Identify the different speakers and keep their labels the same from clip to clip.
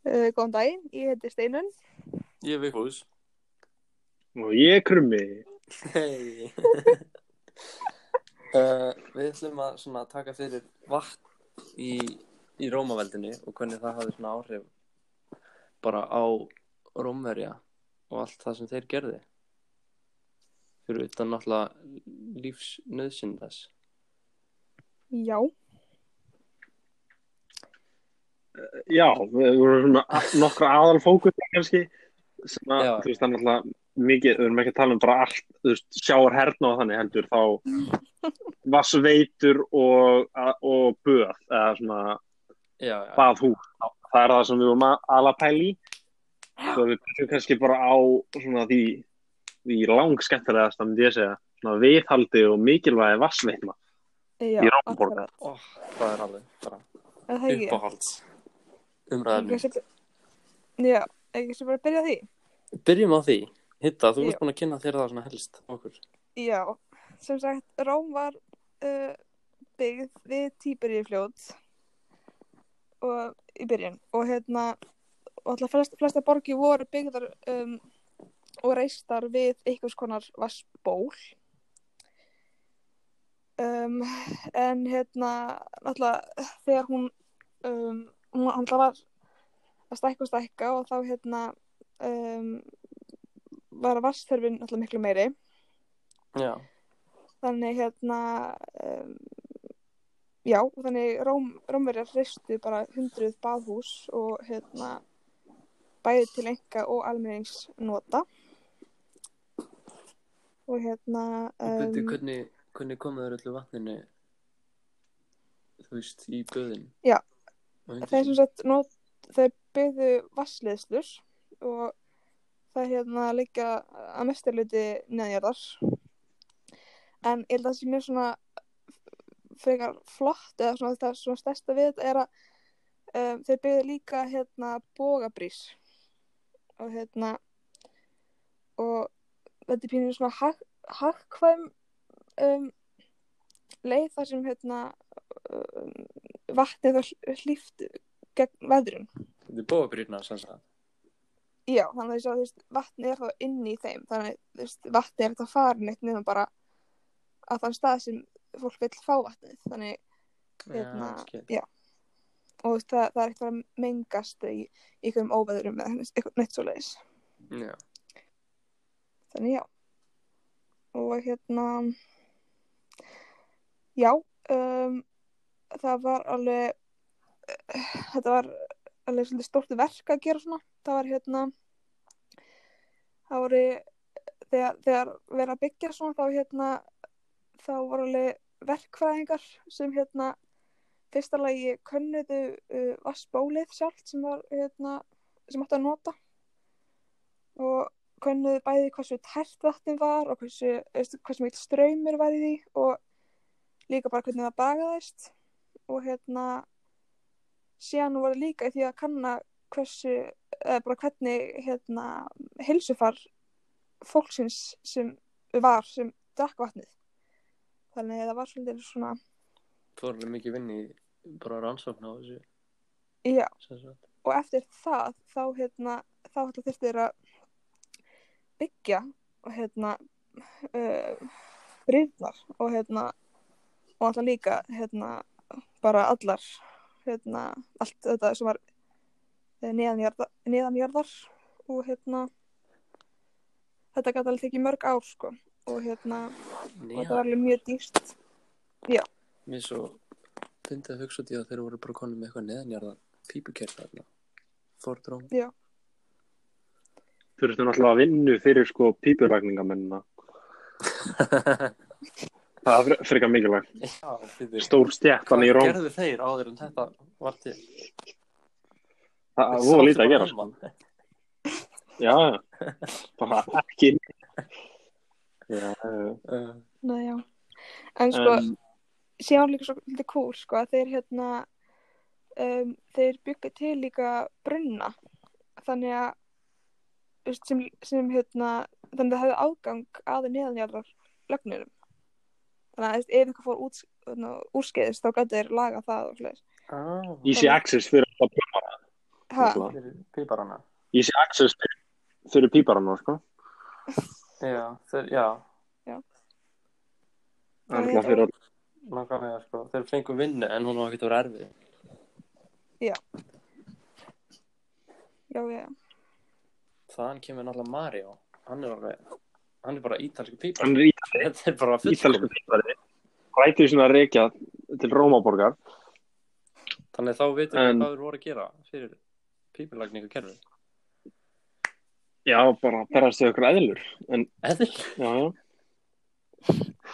Speaker 1: Uh, góðan daginn, ég heiti Steinun.
Speaker 2: Ég er Vigfús.
Speaker 3: Og ég er krummi.
Speaker 2: Hei. Uh, við ætlum að svona, taka fyrir vatn í, í Rómaveldinu og hvernig það hafði svona áhrif bara á Rómverja og allt það sem þeir gerði. Fyrir utan náttúrulega lífsnöðsinn þess.
Speaker 1: Já,
Speaker 3: Já, við vorum svona a- nokkra aðal fókus kannski. Sem að,
Speaker 2: Já.
Speaker 3: þú veist, það er náttúrulega mikið, við erum ekki að tala um bara allt, þú veist, sjáar herna og þannig heldur, þá vassveitur og, a- og böð, eða svona
Speaker 2: Já, já.
Speaker 3: baðhú. Það er það sem við vorum að- aðal að pæla í. Svo við byrjum kannski bara á svona því, því langskemmtilegast, það myndi ég segja, svona viðhaldi og mikilvægi vassveitna.
Speaker 1: já,
Speaker 3: Í Rómborg.
Speaker 1: akkurat.
Speaker 2: Ó, það er alveg bara
Speaker 1: Er Það er ekki.
Speaker 2: uppáhalds umræðinu.
Speaker 1: Ekki Já, ekki sem bara að byrja á því.
Speaker 2: Byrjum á því. Hitta,
Speaker 1: Já.
Speaker 2: þú ert búin að kynna þér það svona helst okkur.
Speaker 1: Já, sem sagt, Róm var uh, byggð við Tíberíufljót og í byrjun og hérna, og alltaf flest, flesta borgi voru byggðar um, og reistar við einhvers konar vassból um, en hérna, alltaf þegar hún um, hún alltaf var að stækka og stækka og þá hérna um, var vassþörfin alltaf miklu meiri
Speaker 2: Já.
Speaker 1: þannig hérna um, já, og þannig Róm, Rómverjar reistu bara hundruð baðhús og hérna bæði til enga og almenningsnota og hérna
Speaker 2: Um, Beti,
Speaker 1: um,
Speaker 2: hvernig, hvernig komu þér öllu vatninu, þú veist, í böðin?
Speaker 1: Já. þeir sem
Speaker 2: Þessum...
Speaker 1: sagt not, þeir byggðu vassleðslur og það hérna líka að mestarluti neðjarðar en ég held að það sé mjög svona frekar flott eða svona, það svona stærsta við þetta er að um, þeir byggðu líka hérna bógabrís og hérna og þetta er pínur svona hag, hagkvæm um, leið þar sem hérna um, vatnið var hlýft gegn veðrun.
Speaker 2: Þetta er bóabrýrna, sem sagt.
Speaker 1: Já, þannig að ég sá, þú veist, vatnið er þá inni í þeim, þannig, þú veist, vatnið er þetta farin eitt nema bara að þann stað sem fólk vil fá vatnið, þannig, hérna,
Speaker 2: Já, skil.
Speaker 1: já. Og þú veist, það, það er ekkert bara að mengast í í einhverjum óveðrum eða eitthvað neitt svo leiðis.
Speaker 2: Já.
Speaker 1: Þannig, já. Og hérna, já, um, það var alveg, þetta var alveg svolítið stórt verk að gera svona. Það var hérna, það voru, þegar, þegar verið að byggja svona, þá hérna, þá voru alveg verkfræðingar sem hérna, fyrsta lagi könnuðu uh, vassbólið sjálft sem var hérna, sem átti að nota og könnuðu bæði hversu tært vatnið var og hversu, veistu, hversu mikil ströymur var í því og líka bara hvernig það bagaðist og hérna síðan voru líka í því að kanna hversu, eða bara hvernig hérna, heilsufar fólksins sem var sem drakk vatnið þannig að það var svolítið svona
Speaker 2: Þú var alveg mikið vinn í bara rannsókn á þessu,
Speaker 1: já,
Speaker 2: sem sagt.
Speaker 1: og eftir það þá hérna þá ætla þurfti þeir að byggja og hérna uh, brýrnar og hérna og alltaf líka hérna bara allar hérna allt þetta sem var eh, neðanjarðar, neðanjarðar og hérna þetta gæti alveg tekið mörg ár sko og hérna og þetta var
Speaker 2: Já,
Speaker 1: alveg mjög dýrst
Speaker 2: mér svo fyndi að hugsa út í að þeir voru bara konum með eitthvað neðanjarðan pípukerð þarna. Fordróm.
Speaker 3: Þurftum náttúrulega að vinnu fyrir sko pípurlagningamennina. Það er fre- frekar mikilvægt.
Speaker 2: Já, fyrir.
Speaker 3: stór stjættan í
Speaker 2: Hvað
Speaker 3: Róm
Speaker 2: gerðu þeir áður en þetta var til?
Speaker 3: það er voru lítið að gera sko.
Speaker 2: gera.
Speaker 3: já, já. bara ekki já, já.
Speaker 2: Uh,
Speaker 1: Nei, já. En sko,
Speaker 3: En-
Speaker 1: síðan var líka svo lítið kúr, sko, að þeir hérna, um, þeir byggja til líka brunna, þannig að, þú veist, sem, sem hérna, þannig að það hefði ágang aðeins neðanjarðar lögninum. Þannig að, þú veist, ef eitthvað fór út, hérna, úrskeiðis, þá gæti þeir laga það og fleiri.
Speaker 2: ah,
Speaker 3: easy access fyrir alltaf
Speaker 1: ha,
Speaker 3: Náttúrulega.
Speaker 2: fyrir píparana
Speaker 3: Ég sé Axis fyrir, fyrir píparana, sko.
Speaker 2: já, þeir, já,
Speaker 1: Já, ég
Speaker 3: Það er náttúrulega fyrir að
Speaker 2: nákvæmlega sko þeir fengu vinnu en hún var ekkert að vera erfið
Speaker 1: já, já,
Speaker 2: þaðan kemur náttúrulega Mario hann er, alveg, hann er bara ítalsku pípar
Speaker 3: hann er í-
Speaker 2: þetta er bara fullkom
Speaker 3: ítalsku pípari. Rætið svona að reykja til Rómaborgar.
Speaker 2: þannig að þá veitum við
Speaker 3: En-
Speaker 2: hvað við voru að gera fyrir pípulagningu kerfi
Speaker 3: Já, bara perast þau okkur eðlur. En,
Speaker 2: eða
Speaker 3: já, já.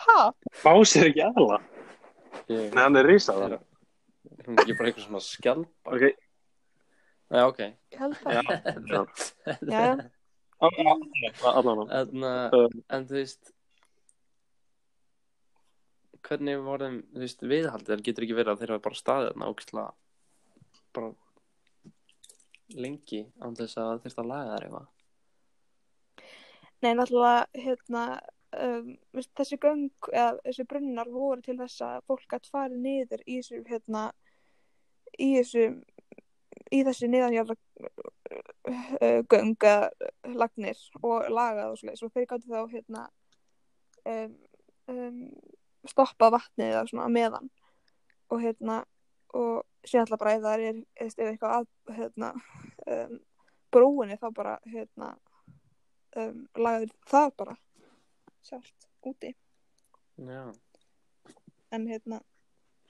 Speaker 1: ha,
Speaker 3: Fá sér ekki eðla. Nei, hann er risað það.
Speaker 2: er hún ekki bara einhver svona skjálpa
Speaker 3: Ok,
Speaker 2: já, ok
Speaker 1: ég held það,
Speaker 3: já.
Speaker 1: já, já,
Speaker 3: Á- á- Allan á.
Speaker 2: en, uh,
Speaker 3: Um.
Speaker 2: en þú veist hvernig var þeim þú veist, viðhaldið, en getur ekki verið að þeir hafa bara staðið þarna ógæslega bara lengi án þess að þeir að laga þær eitthvað
Speaker 1: nei, náttúrulega, hérna, um, veist, þessi göng, eða þessi brunnar voru til þess að fólk gætt farið niður í þessu, hérna, í þessu, í þessi niðanjála göng eða lagnir og lagað og svoleiðis og þeir gæti þá, hérna, um, um, stoppa vatnið eða svona á meðan og hérna og síðan alltaf bara ef það er ef það er eitthvað að hérna, um, brúinni þá bara hérna um, lagður það bara sjálft úti
Speaker 2: já,
Speaker 1: en hérna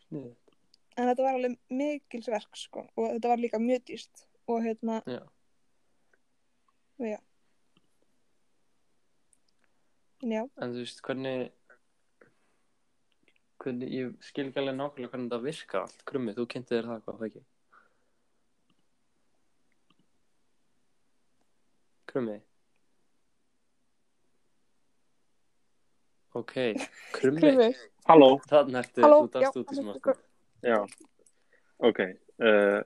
Speaker 2: sniðið
Speaker 1: en þetta var alveg mikilsverk sko og þetta var líka mjög dýrt og hérna
Speaker 2: Já.
Speaker 1: og já en já
Speaker 2: en þú veist hvernig hvernig ég skil ekki alveg nákvæmlega hvernig þetta virkar allt krummi, þú kynnti þér það eitthvað, hvað ekki krummi ok, krummi
Speaker 1: Krummi,
Speaker 3: Halló.
Speaker 2: þarna ertu,
Speaker 1: Halló,
Speaker 2: þú
Speaker 1: já,
Speaker 2: dast út í
Speaker 1: hann er
Speaker 2: smá
Speaker 1: sko-
Speaker 2: stund.
Speaker 3: Já. Ok. Uh,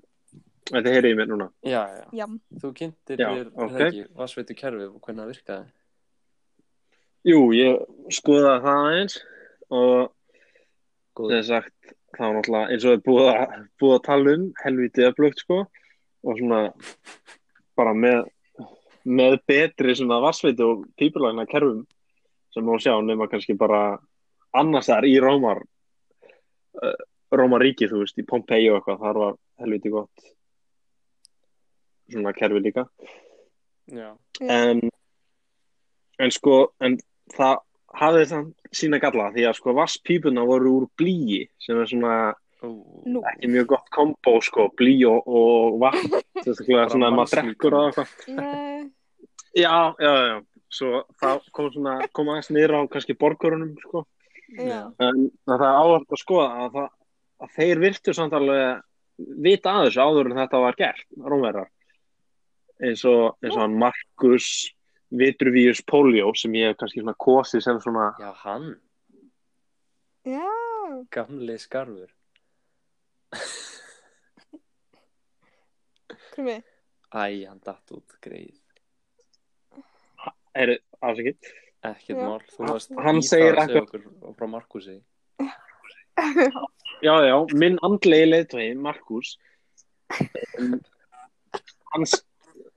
Speaker 3: þetta heyrið ég mér núna.
Speaker 2: já, já, já,
Speaker 1: jam,
Speaker 2: þú kynntir
Speaker 3: Já,
Speaker 2: þér
Speaker 3: ok.
Speaker 2: okay. ekki, vassveitu kerfið og hvernig það virkaði
Speaker 3: Jú, ég skoðaði það eins og
Speaker 2: góð,
Speaker 3: sem sagt, þá náttúrulega eins og við búið að, búið að tala um helviti öflugt sko og svona bara með, með betri svona vassveiti og pípulagna kerfum sem má sjá nema kannski bara annars þar í Rómar uh, Rómaríki þú veist, í Pompeii og eitthvað þar var helviti gott svona kerfi líka
Speaker 2: já,
Speaker 3: en, en sko en það hafði þann sína galla því að sko vasspípuna voru úr blíi sem er svona
Speaker 2: ó,
Speaker 1: nú
Speaker 3: ekki mjög gott kombo sko blí og, og vatn sérstaklega
Speaker 2: Bara
Speaker 3: svona að maður
Speaker 2: mannslíkam.
Speaker 3: drekkur og eitthvað
Speaker 1: Nei,
Speaker 3: já, já, já svo það kom svona kom aðeins niður á kannski borgurunum sko
Speaker 1: já,
Speaker 3: en það er áhört að skoða að, það, að þeir virtu samt alveg vita að þessu áður en þetta var gert rómverðar eins og, eins og hann Markus Vitruvius Polio sem ég hef kannski svona kosið sem svona
Speaker 2: já, hann
Speaker 1: já,
Speaker 2: gamli skarfur
Speaker 1: krummi
Speaker 2: æ, hann datt út, greið
Speaker 3: er, afsakið,
Speaker 2: Ekkert
Speaker 1: Já.
Speaker 2: mál, þú varst
Speaker 3: Hann
Speaker 2: í
Speaker 3: segir
Speaker 2: það að segja
Speaker 3: ekkert-
Speaker 2: okkur og frá Markusi
Speaker 3: já, já, minn andlegi leiðtói Markus um, hans,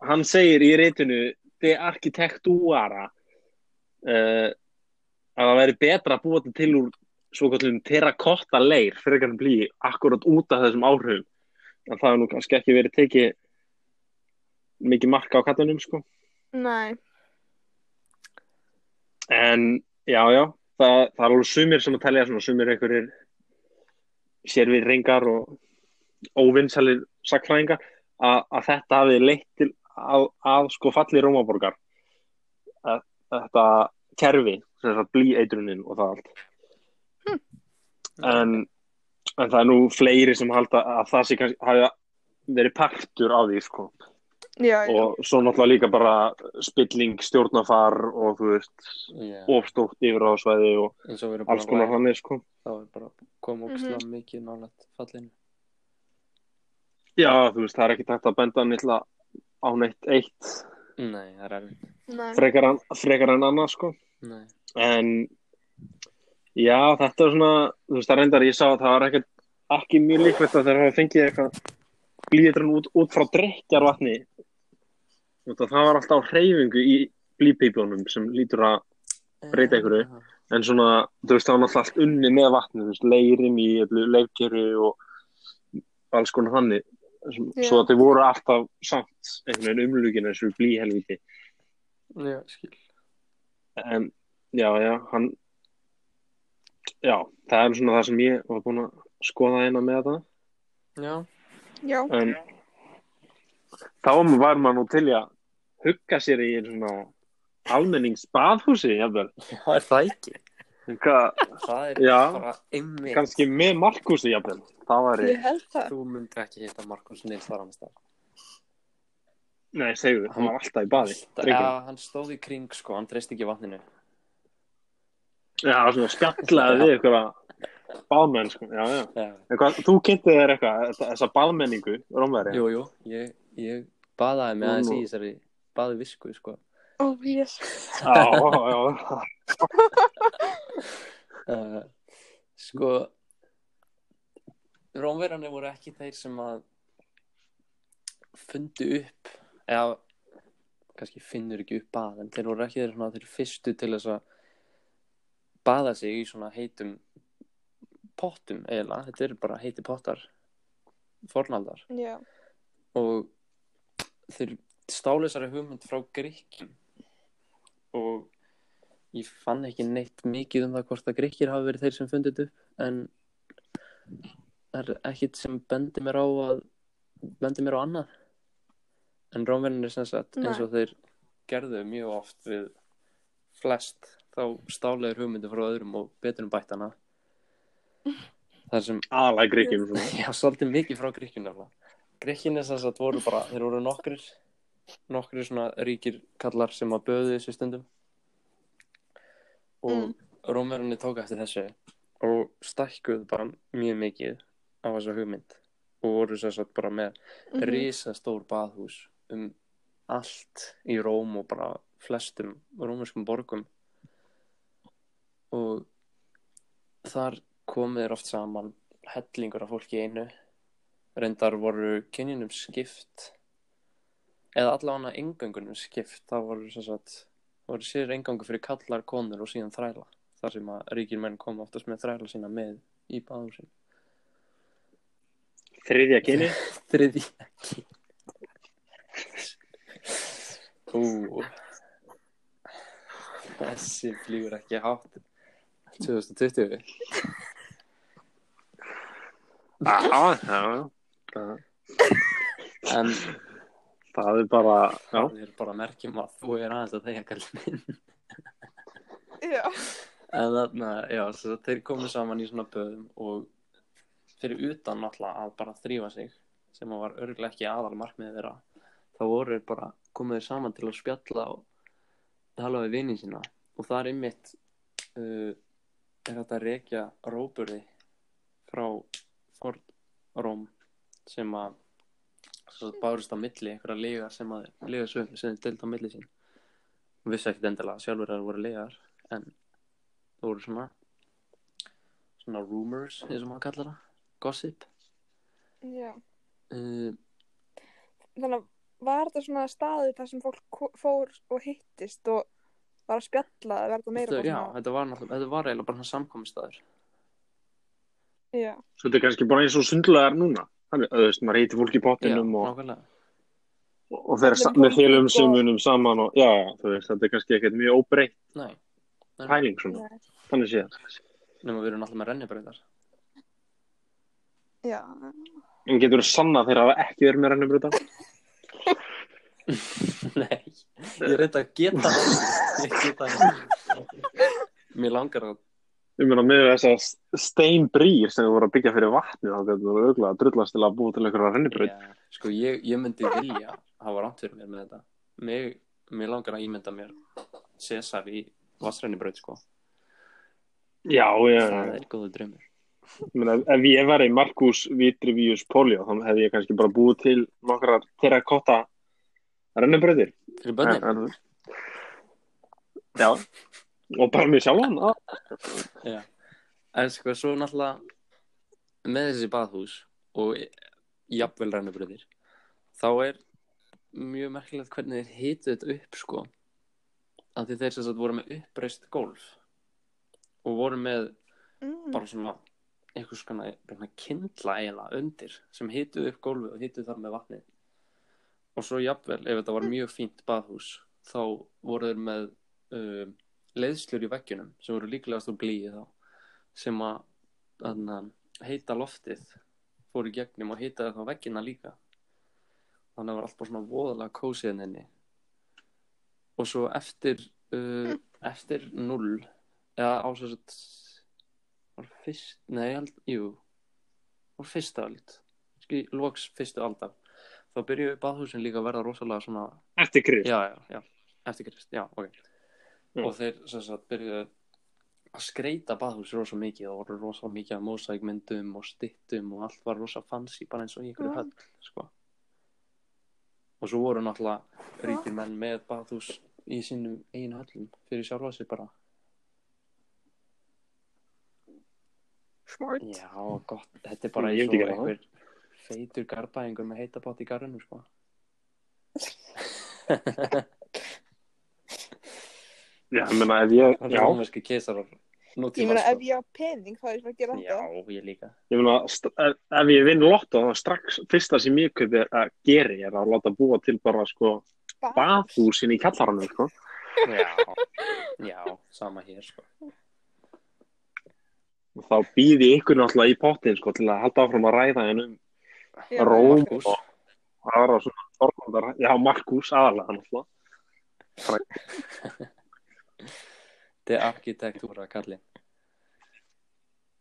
Speaker 3: hann segir í reytinu de arkitektuara uh, að það væri betra að búa þetta til úr svo kallum terrakotta leir fyrir kannan blí akkurat út af þessum áhrifum en það er nú kannski ekki verið tekið mikið marka á kattunum sko
Speaker 1: nei,
Speaker 3: En já, já, það, það er alveg sumir sem að telja svona, sumir einhverjir sér við reyngar og óvinnsalir sakfræðingar að, að þetta hafi leitt til að, að sko falli Rómaborgar að, að þetta kerfi, sem þess að blí eitrunin og það allt. En, en það er nú fleiri sem halda að það sé kannski hafi verið partur á því sko
Speaker 1: já, já
Speaker 3: og svo náttúrulega líka bara spilling, stjórnafar og þú veist
Speaker 2: yeah.
Speaker 3: ofstótt yfir á svæði og
Speaker 2: eins og við erum
Speaker 3: alls
Speaker 2: búin
Speaker 3: konar
Speaker 2: að ræða,
Speaker 3: þannig sko.
Speaker 2: þá er bara kom ógislega mikið nálægt fallinu
Speaker 3: Já, þú veist, það er ekki takt að benda nýtla á neitt eitt
Speaker 2: Nei, það er erfitt
Speaker 1: nei,
Speaker 3: frekar en, frekar en annað sko.
Speaker 2: Nei.
Speaker 3: En já, þetta er svona, þú veist, það reyndar ég sá að það var ekkert ekki mjög líklegt að þeir hafa fengið eitthvað blíðitrun út, út frá drikjarvatni og það var alltaf á hreyfingu í blíðpípunum sem lítur að Breyta einhverju.
Speaker 2: Eh,
Speaker 3: en svona, þú veist, það var náttúrulega allt unni með vatni, þú veist, leirim í öllu leirkeru og alls konar þannig, Svo-
Speaker 1: Já.
Speaker 3: svo að þau voru alltaf samt einhvern veginn umlugin þessu blíhelviti,
Speaker 2: Já, skil.
Speaker 3: en já, já, hann já, það er svona það sem ég var búin að skoða eina með þetta
Speaker 2: Já,
Speaker 1: Já,
Speaker 3: en þá var maður nú til í að hugga sér í einu svona almenningsbaðhúsi, jafnvel
Speaker 2: það er það ekki.
Speaker 3: Hvað,
Speaker 2: Það er
Speaker 3: Já.
Speaker 2: bara einmitt.
Speaker 3: kannski með Markúsi, jafnvel það var
Speaker 1: ég held það.
Speaker 2: Þú myndi ekki hitta Markus Nils þar annars þar.
Speaker 3: nei, segðu, hann var alltaf í baði
Speaker 2: Já,
Speaker 3: drengurinn.
Speaker 2: hann stóð í kring, sko, hann treyst ekki vatninu.
Speaker 3: já, svona spjallaði við ykkur að baðmenn, sko, já, já
Speaker 2: Já.
Speaker 3: En Hvað, þú kynnti þér eitthvað, þetta- þessa baðmenningu, Rómveri?
Speaker 2: Jú, jú, ég, ég baðaði mig
Speaker 3: Nú,
Speaker 2: aðeins
Speaker 3: nú.
Speaker 2: í þessari baðu visku,
Speaker 1: Ó,
Speaker 2: sko.
Speaker 1: Oh, yes.
Speaker 3: Já, já, já.
Speaker 2: Uh, sko, Rómverjarnir voru ekki þeir sem að fundu upp, eða kannski finnur ekki upp bað, en þeir voru ekki þeir, svona, þeir fyrstu til þess að baða sig í svona heitum pottum eiginlega, þetta eru bara heiti pottar, fornaldar
Speaker 1: Já,
Speaker 2: og þeir stálu þessari hugmynd frá Grikkjum og ég fann ekki neitt mikið um það hvort að Grikkir hafi verið þeir sem fundið þetta upp en það er ekkit sem bendir mér á að bendir mér á annað en Rómverðin er sem sagt
Speaker 1: Nei.
Speaker 2: eins og þeir gerðu mjög oft við flest þá stáleður hugmyndu frá öðrum og betur um bættana þar sem
Speaker 3: Aðalega gríkjum, svona.
Speaker 2: Já, svolítið mikið frá Gríkjum nefnilega. Gríkjum er þess að voru bara, þeir voru nokkrir, nokkrir svona ríkir kallar sem að böðu þessu stundum. Og mm.
Speaker 1: Mm.
Speaker 2: tók eftir þessu og stækkuðu bara mjög mikið á þessa hugmynd og voru þess að bara með
Speaker 1: Mhm.
Speaker 2: risastór baðhús um allt í Róm og bara flestum rómurskum borgum og þar komið er oft saman hellingur af fólki í einu reyndar voru kynjunum skipt eða allavega engöngunum skipt það voru sem sagt það voru sér engangu fyrir kallar konur og síðan þræla þar sem að ríkir menn koma oftast með þræla sína með í baðhúsin
Speaker 3: Þriðja kynni.
Speaker 2: þriði Ú Þessi flýgur ekki hátt 2020
Speaker 3: Já, já, já. Það-
Speaker 2: En
Speaker 3: Það er bara, já.
Speaker 2: það er bara að merkjum að þú er aðeins að þegja kallið minn
Speaker 1: Já,
Speaker 2: En þarna, já, svo þeir komu saman í svona böðum og fyrir utan náttúrulega að bara þrýfa sig sem að var örgulega ekki aðal markmiðið þeirra þá voru þeir bara komuðir saman til að spjalla og tala við vinið sína og það er einmitt uh, er þetta rekja róburði frá Ford Róm sem að svo bárust á milli einhverja legar sem að legar sem þeir deilt á milli sín vissi ekkert endilega sjálfur að það voru legar en það voru svona svona rumors eins og maður kallar það gossip
Speaker 1: já.
Speaker 2: uh,
Speaker 1: Þannig að var þetta svona staður þar sem fólk ko- fór og hittist og var að spjalla eða verða meira
Speaker 2: þetta,
Speaker 1: bara
Speaker 2: já,
Speaker 1: svona-
Speaker 2: þetta var, náttúrulega- þetta var eiginlega bara svona samkomistæður
Speaker 1: Já,
Speaker 3: Svo þetta er kannski bara eins og sundlegar núna. Þannig, að, þú veist, maður hýtti fólk í pottinum og,
Speaker 2: nákvæmlega
Speaker 3: og fer sa- með félum sumunum saman og, já, já, þú veist, þetta er kannski ekkert mjög óbreytt
Speaker 2: Nei,
Speaker 3: pæling svona.
Speaker 1: nei.
Speaker 3: Þannig séð.
Speaker 2: nema við erum náttúrulega með rennibreytar
Speaker 1: já,
Speaker 3: En getur þú sanna þeir hafa ekki verið með rennubrúta?
Speaker 2: Nei, ég reynda að geta það Ég geta það Mér langar að
Speaker 3: Ég meina, með þess að steinbrýr sem þú voru að byggja fyrir vatni, þá getur þú auðvitað að drullast til að búa til einhverja rennubrúta.
Speaker 2: Já, Sko, ég, ég myndi vilja hafa rátt fyrir mér með þetta Mér, mér langar að ímynda mér César í vassrennibraut, sko
Speaker 3: Já, já, já.
Speaker 2: Það er góðu draumur
Speaker 3: Men ef, ef ég væri Markus Vitrivius Polio þá hefði ég kannski bara búið til nokkra terrakotta rennubröðir
Speaker 2: Fyrir bönnin,
Speaker 3: Já og bara mér sjálfan á.
Speaker 2: En sko, svo náttúrulega með þessi baðhús og jafnvel rennubröðir þá er mjög merkilegt hvernig þeir hitu þetta upp sko að því þeir sem sagt voru með uppreist golf og voru með
Speaker 1: Mm.
Speaker 2: bara svona einhvers konar svona kindla eiginlega undir sem hituð upp gólfið og hituð þar með vatnið og svo jafnvel ef þetta var mjög fínt baðhús þá voru þeir með um, leiðslur í veggjunum sem voru líklegast úr blíi þá sem að þarna, heita loftið fóru í gegnum og hitaði þá veggina líka þannig að það var allt bara svona voðalega kósið henni og svo eftir uh, eftir null eða á svo sett var fyrst, nei, held, jú var fyrsta öld Ski- loks fyrstu aldar þá byrjuðu baðhúsin líka að verða rosalega svona
Speaker 3: Eftir krist.
Speaker 2: já, já, já, eftir krist, já, ok
Speaker 3: Mm.
Speaker 2: og þeir sem sagt byrjuðu að skreita baðhús rosa mikið og voru rosa mikið að mósækmyndum og styttum og allt var rosa fancy bara eins og í ykkur
Speaker 1: Mm.
Speaker 2: höll sko. og svo voru náttúrulega ríkir menn með baðhús í sínum eigin höllum fyrir sjálfa sig bara
Speaker 1: Smart.
Speaker 2: Já, gott, þetta er bara
Speaker 3: Ég
Speaker 2: eins og
Speaker 3: myndi gera það.
Speaker 2: einhver feitur garbaðingur með heita bótt í garðinu, sko.
Speaker 3: Já, ég meina ef ég,
Speaker 2: Það er
Speaker 3: já,
Speaker 2: rómverski keisarar.
Speaker 1: Ég meina, ef ég á pening, þá er ég svona að gera
Speaker 2: sko. Já,
Speaker 1: þetta.
Speaker 2: ég líka.
Speaker 3: ég meina st- ef ef ég vinn lotto þá strax fyrsta sem ég kaupi er að gera er að láta búa til bara sko
Speaker 1: Ba-
Speaker 3: bathúsin í kallaranum sko.
Speaker 2: Já, já, sama hér, sko.
Speaker 3: Og þá býði ykkur náttúrulega í pottin sko til að halda áfram að ræða henn um
Speaker 1: Já.
Speaker 3: Róm.
Speaker 2: Markús.
Speaker 3: aðra svona orðandar, já, Markus aðalega náttúrulega.
Speaker 2: De arkitektúra, kallinn.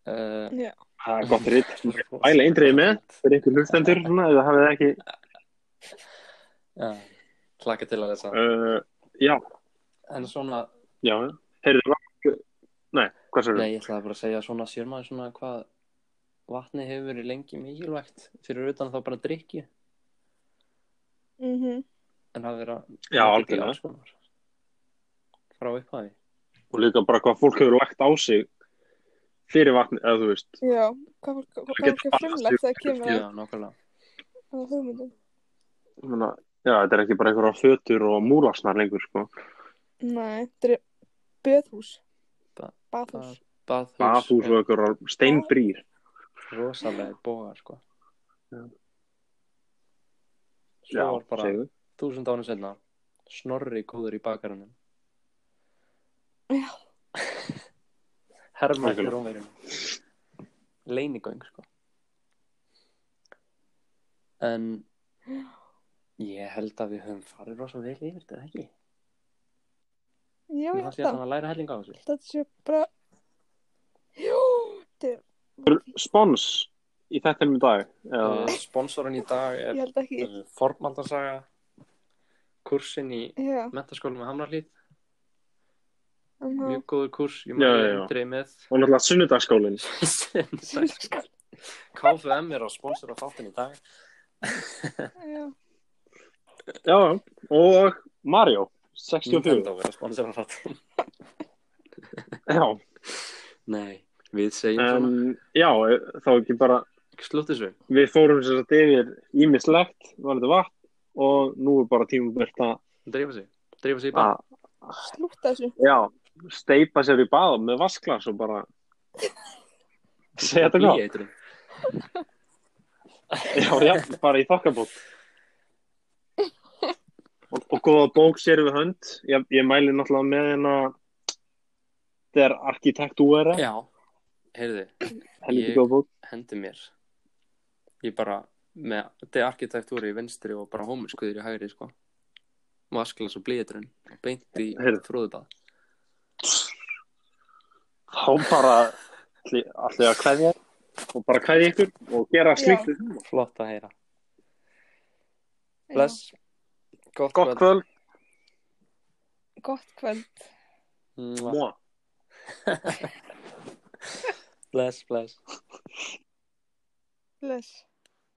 Speaker 2: Uh,
Speaker 1: Já.
Speaker 3: Það er gott ritt. Æla eindriði með fyrir ykkur hlustendur svona, eða hafið ekki
Speaker 2: Já, klaka til að þessa.
Speaker 3: uh, já,
Speaker 2: En svona,
Speaker 3: já, heyrðu Mark- Nei, hvað sér
Speaker 2: Nei, ég ætlaði bara að segja svona sér maður svona hvað vatni hefur verið lengi mikilvægt fyrir utan þá bara drikki
Speaker 1: Mhm.
Speaker 2: en það verið að
Speaker 3: Já,
Speaker 2: nota þetta í
Speaker 3: algjörlega.
Speaker 2: alls konar. frá upphafi
Speaker 3: Og líka bara hvað fólk hefur lagt á sig fyrir vatni, eða þú veist.
Speaker 1: Já, hvað var hvað var ekki frumlegt þegar kemur að
Speaker 2: Já, nákvæmlega
Speaker 1: að hugmyndum?
Speaker 3: Ég Meina, já, þetta er ekki bara einhverja fötur og múlasnar lengur, sko.
Speaker 1: Nei, þetta er böðhús.
Speaker 2: Ba-
Speaker 1: Bathús.
Speaker 2: Baðhús,
Speaker 3: Bathús og einhverja steinbrýr.
Speaker 2: er rosalega bóðar sko
Speaker 3: Já.
Speaker 2: Svo var bara
Speaker 3: segðu.
Speaker 2: þúsund ánum senna Snorri góður í bakarunum
Speaker 1: Já.
Speaker 2: Herma eftir
Speaker 3: Nákvæmlega.
Speaker 2: rómverjunum Leinigöng sko En Ég held að við höfum farið rosa vel yfir þetta, ekki?
Speaker 1: Já, ég
Speaker 2: Mér fannst
Speaker 1: held það.
Speaker 2: ég að hann að læra hellinga á þessu.
Speaker 1: Þetta sé bara... Jú, þetta er...
Speaker 3: Spons í þettinum í dag.
Speaker 2: Uh,
Speaker 3: Eða,
Speaker 2: sponsorinn í dag
Speaker 1: Ég
Speaker 2: er
Speaker 1: held ekki...
Speaker 2: uh, Formaldarsaga, kursin í
Speaker 1: Já,
Speaker 2: mentaskólum með Hamrarlíð,
Speaker 1: um
Speaker 2: mjög góður kurs, ég
Speaker 3: Já,
Speaker 2: maður
Speaker 3: já, já.
Speaker 2: eindrið með.
Speaker 3: og náttúrulega sunnudagsskólinn.
Speaker 1: það.
Speaker 2: KFM er að sponsora þáttinn í dag.
Speaker 1: Já,
Speaker 3: Já, já. og Mario, 64.
Speaker 2: Nintendo er að sponsora þáttinn. Mm,
Speaker 3: Já,
Speaker 2: Nei, við segjum
Speaker 3: en,
Speaker 2: svona.
Speaker 3: já, þá ekki bara,
Speaker 2: Slutt þessu.
Speaker 3: við fórum sér að yfir ímislegt, var þetta vatn, og nú er bara tímum verðt að,
Speaker 2: Dreifa sig. Dreifa sig í
Speaker 3: að
Speaker 2: bann.
Speaker 1: slúta þessu.
Speaker 3: Já, steipa sér í bað með vasklas og bara segja þetta gott.
Speaker 2: Blýeitrun.
Speaker 3: Já, já, bara í þokkabót. Og, og góða bók sér við hönd. Ég, ég mæli náttúrulega með hérna þegar arkitektúra,
Speaker 2: Já, heyrðu,
Speaker 3: henni
Speaker 2: ég-
Speaker 3: ekki góða bók.
Speaker 2: hendi mér. Ég bara, með de arkitektúri í vinstri og bara hómurskuður í hægri, sko. Vasklas og blíeitrun. Beint í
Speaker 3: Heyrðu.
Speaker 2: fróðubað.
Speaker 3: Þá bara allir að kveðja og bara kveðja ykkur og gera slíkt. við þig.
Speaker 2: Flott að heyra.
Speaker 1: Já,
Speaker 2: Bless. Gott,
Speaker 3: Gott kvöld.
Speaker 1: Gott kvöld.
Speaker 2: kvöld.
Speaker 3: Mua.
Speaker 2: Bless, bless.
Speaker 1: Bless.